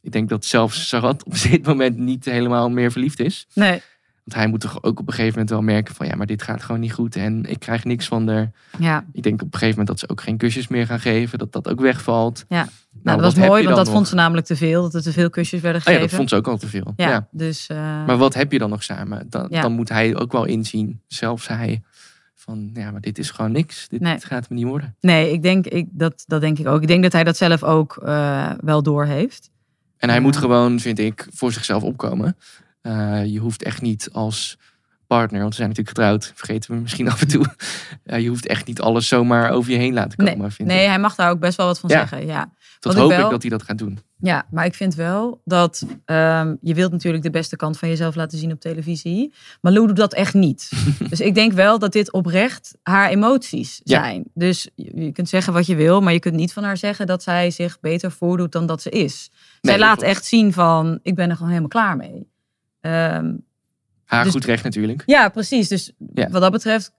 B: Ik denk dat zelfs Sarat op dit moment niet helemaal meer verliefd is.
C: Nee,
B: Want hij moet toch ook op een gegeven moment wel merken van ja, maar dit gaat gewoon niet goed en ik krijg niks van haar.
C: ja.
B: Ik denk op een gegeven moment dat ze ook geen kusjes meer gaan geven, dat dat ook wegvalt.
C: Ja, nou,
B: Nou, wat
C: dat was
B: heb
C: mooi,
B: je
C: want
B: dan
C: dat vond
B: nog?
C: ze namelijk te veel. Dat er te veel kusjes werden
B: Oh ja,
C: gegeven.
B: dat vond ze ook al te veel.
C: Ja,
B: ja.
C: dus... eh,
B: Maar wat heb je dan nog samen? Dan,
C: Ja.
B: dan moet hij ook wel inzien, zelfs hij, van ja, maar dit is gewoon niks. Dit
C: Nee.
B: gaat me niet worden.
C: Nee, ik denk, ik, dat, dat denk ik ook. Ik denk dat hij dat zelf ook eh, wel door heeft.
B: En hij moet gewoon, vind ik, voor zichzelf opkomen. Eh, je hoeft echt niet als partner, want we zijn natuurlijk getrouwd, vergeten we misschien af en toe. Eh, je hoeft echt niet alles zomaar over je heen laten komen,
C: Nee,
B: vind ik.
C: nee hij mag daar ook best wel wat van
B: Ja.
C: zeggen. Ja.
B: Dat
C: Wat
B: hoop ik,
C: wel-
B: dat hij dat gaat doen.
C: Ja, maar ik vind wel dat ehm, je wilt natuurlijk de beste kant van jezelf laten zien op televisie. Maar Lou doet dat echt niet. dus ik denk wel dat dit oprecht haar emoties
B: Ja.
C: zijn. Dus je je kunt zeggen wat je wil, maar je kunt niet van haar zeggen dat zij zich beter voordoet dan dat ze is.
B: Nee,
C: Zij
B: dat
C: laat
B: klopt.
C: echt zien van, ik ben er gewoon helemaal klaar mee. Ehm,
B: Haar
C: Dus-
B: goed recht natuurlijk.
C: ja, precies. Dus
B: Ja.
C: wat dat betreft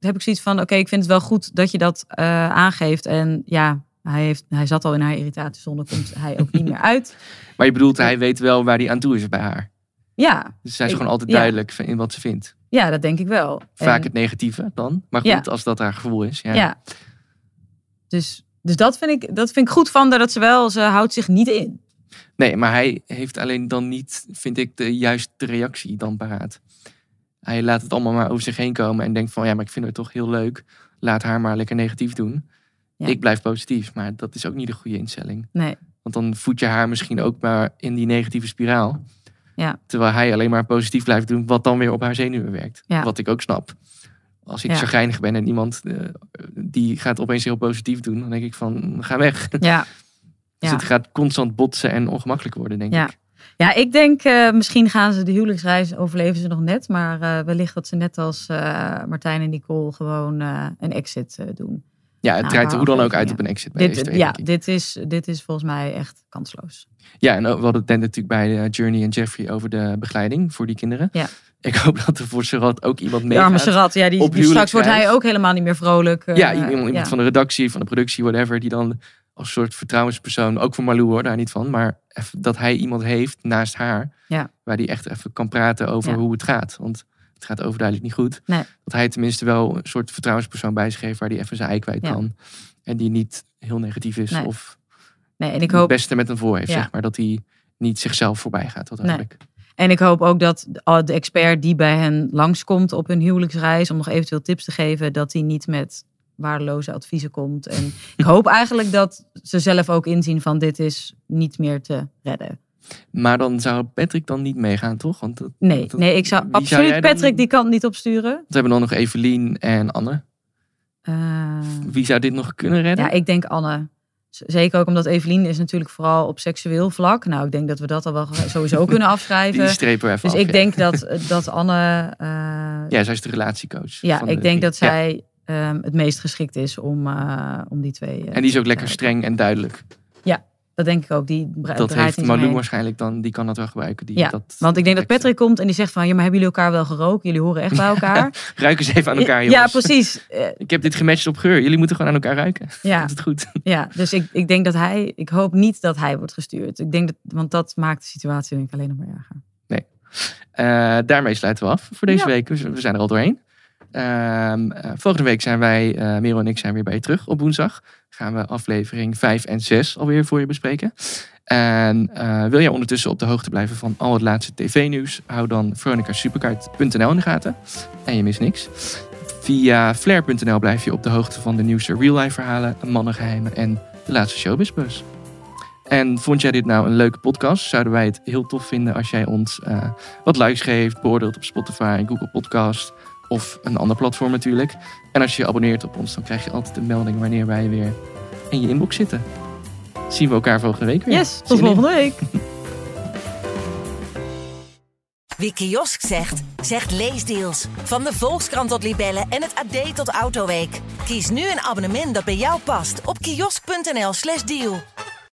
C: heb ik zoiets van: oké, ik vind het wel goed dat je dat eh, aangeeft. En ja, hij, heeft, hij zat al in haar irritatiezone, komt hij ook niet meer uit.
B: Maar je bedoelt, hij weet wel waar hij aan toe is bij haar.
C: Ja,
B: Dus zij is
C: Ik-
B: gewoon altijd
C: ja.
B: duidelijk in wat ze vindt.
C: ja dat denk ik wel.
B: Vaak
C: En-
B: het negatieve dan. Maar goed,
C: Ja.
B: als dat haar gevoel is.
C: ja. Dus, dus dat, vind ik, dat vind ik goed van haar, dat ze wel, ze houdt zich niet in.
B: Nee, maar hij heeft alleen dan niet, vind ik, de juiste reactie dan paraat. Hij laat het allemaal maar over zich heen komen en denkt van ja, maar ik vind het toch heel leuk. Laat haar maar lekker negatief doen. Ik blijf positief, maar dat is ook niet de goede instelling.
C: Nee.
B: Want dan voed je haar misschien ook maar in die negatieve spiraal.
C: Ja.
B: Terwijl hij alleen maar positief blijft doen, wat dan weer op haar zenuwen werkt.
C: Ja.
B: Wat ik ook snap. Als ik
C: Ja.
B: chagrijnig ben en iemand eh, die gaat opeens heel positief doen, dan denk ik van, ga weg.
C: Ja.
B: Dus
C: Ja.
B: het gaat constant botsen en ongemakkelijk worden, denk
C: ja.
B: ik.
C: Ja, ik denk eh, misschien gaan ze de huwelijksreis overleven ze nog net. Maar eh, wellicht dat ze net als eh, Martijn en Nicole gewoon eh, een exit eh, doen.
B: Ja, het
C: Na
B: draait er
C: een
B: hoe
C: paar
B: dan ook uit
C: afleveringen.
B: op een exit bij
C: dit,
B: deze twee,
C: Ja,
B: denk ik.
C: dit is, dit is volgens mij echt kansloos.
B: Ja, en ook- we hadden het net natuurlijk bij eh, Journey en Jeffrey over de begeleiding voor die kinderen.
C: Ja.
B: Ik hoop dat er voor Serat ook iemand mee
C: De arme Serat, ja, die,
B: op
C: die straks wordt hij
B: huwelijksreis.
C: ook helemaal niet meer vrolijk. eh,
B: ja, iemand, iemand
C: ja.
B: van de redactie, van de productie, whatever, die dan als soort vertrouwenspersoon, ook voor Malou hoor, daar niet van, maar even, dat hij iemand heeft naast haar,
C: Ja.
B: waar die echt even kan praten over
C: Ja.
B: hoe het gaat. Want het gaat overduidelijk niet goed.
C: Nee.
B: Dat hij tenminste wel een soort vertrouwenspersoon bij zich heeft waar hij even zijn ei kwijt
C: Ja.
B: kan. En die niet heel negatief is
C: Nee.
B: of
C: Nee, en ik hoop,
B: het beste met hem voor heeft,
C: Ja.
B: zeg maar. Dat hij niet zichzelf voorbij gaat. Wat
C: Nee.
B: eigenlijk.
C: En ik hoop ook dat de de expert die bij hen langskomt op hun huwelijksreis, om nog eventueel tips te geven, dat die niet met waardeloze adviezen komt. En ik hoop eigenlijk dat ze zelf ook inzien van dit is niet meer te redden.
B: Maar dan zou Patrick dan niet meegaan, toch? Want dat-
C: Nee,
B: dat-
C: nee ik zou
B: wie
C: absoluut
B: jij dan-
C: Patrick die kant niet opsturen.
B: We hebben dan nog Evelien en Anne.
C: Eh,
B: Wie zou dit nog kunnen redden?
C: ja, ik denk Anne. Z- Zeker ook omdat Evelien is natuurlijk vooral op seksueel vlak. Nou, ik denk dat we dat al wel sowieso kunnen afschrijven.
B: Die strepen we even
C: Dus
B: af,
C: ik
B: ja.
C: denk dat, dat Anne eh,
B: Ja, zij is de relatiecoach.
C: Ja,
B: van
C: ik
B: de
C: denk dat
B: drie. Ja.
C: zij ehm, het meest geschikt is om, eh, om die twee. eh,
B: En die is ook lekker
C: te-
B: streng en duidelijk.
C: Ja, dat denk ik ook. Die bra-
B: Dat
C: draait
B: heeft
C: niet
B: Malou
C: omheen.
B: waarschijnlijk dan. Die kan dat wel gebruiken. Die,
C: Ja,
B: dat,
C: want ik denk dat Patrick komt en die zegt van... ja, maar hebben jullie elkaar wel gerookt? Jullie horen echt bij elkaar.
B: Ruik eens even aan elkaar, jongens.
C: ja, precies. Eh,
B: Ik heb dit gematcht op geur. Jullie moeten gewoon aan elkaar ruiken.
C: Ja.
B: Komt het goed?
C: ja, dus ik, ik denk dat hij... Ik hoop niet dat hij wordt gestuurd. Ik denk dat, want dat maakt de situatie denk ik alleen nog maar erger.
B: Nee. Eh, daarmee sluiten we af voor deze
C: Ja.
B: week. We z- We zijn er al doorheen. Ehm, eh, volgende week zijn wij, eh Merel en ik, zijn weer bij je terug op woensdag. Gaan we aflevering 5 en 6 alweer voor je bespreken. En eh, wil jij ondertussen op de hoogte blijven van al het laatste tv-nieuws? Hou dan veronicasuperkaart.nl in de gaten. En je mist niks. Via flair.nl blijf je op de hoogte van de nieuwste real-life verhalen, mannengeheimen en de laatste showbizbus. En vond jij dit nou een leuke podcast? Zouden wij het heel tof vinden als jij ons eh, wat likes geeft, beoordeelt op Spotify en Google Podcast of een ander platform natuurlijk. En als je je abonneert op ons, dan krijg je altijd een melding wanneer wij weer in je inbox zitten. Zien we elkaar volgende week weer.
C: Yes,
B: Zin
C: tot
B: in.
C: volgende week.
A: Wie kiosk zegt, zegt leesdeals. Van de Volkskrant tot Libellen en het AD tot Autoweek. Kies nu een abonnement dat bij jou past op kiosk.nl/slash deal.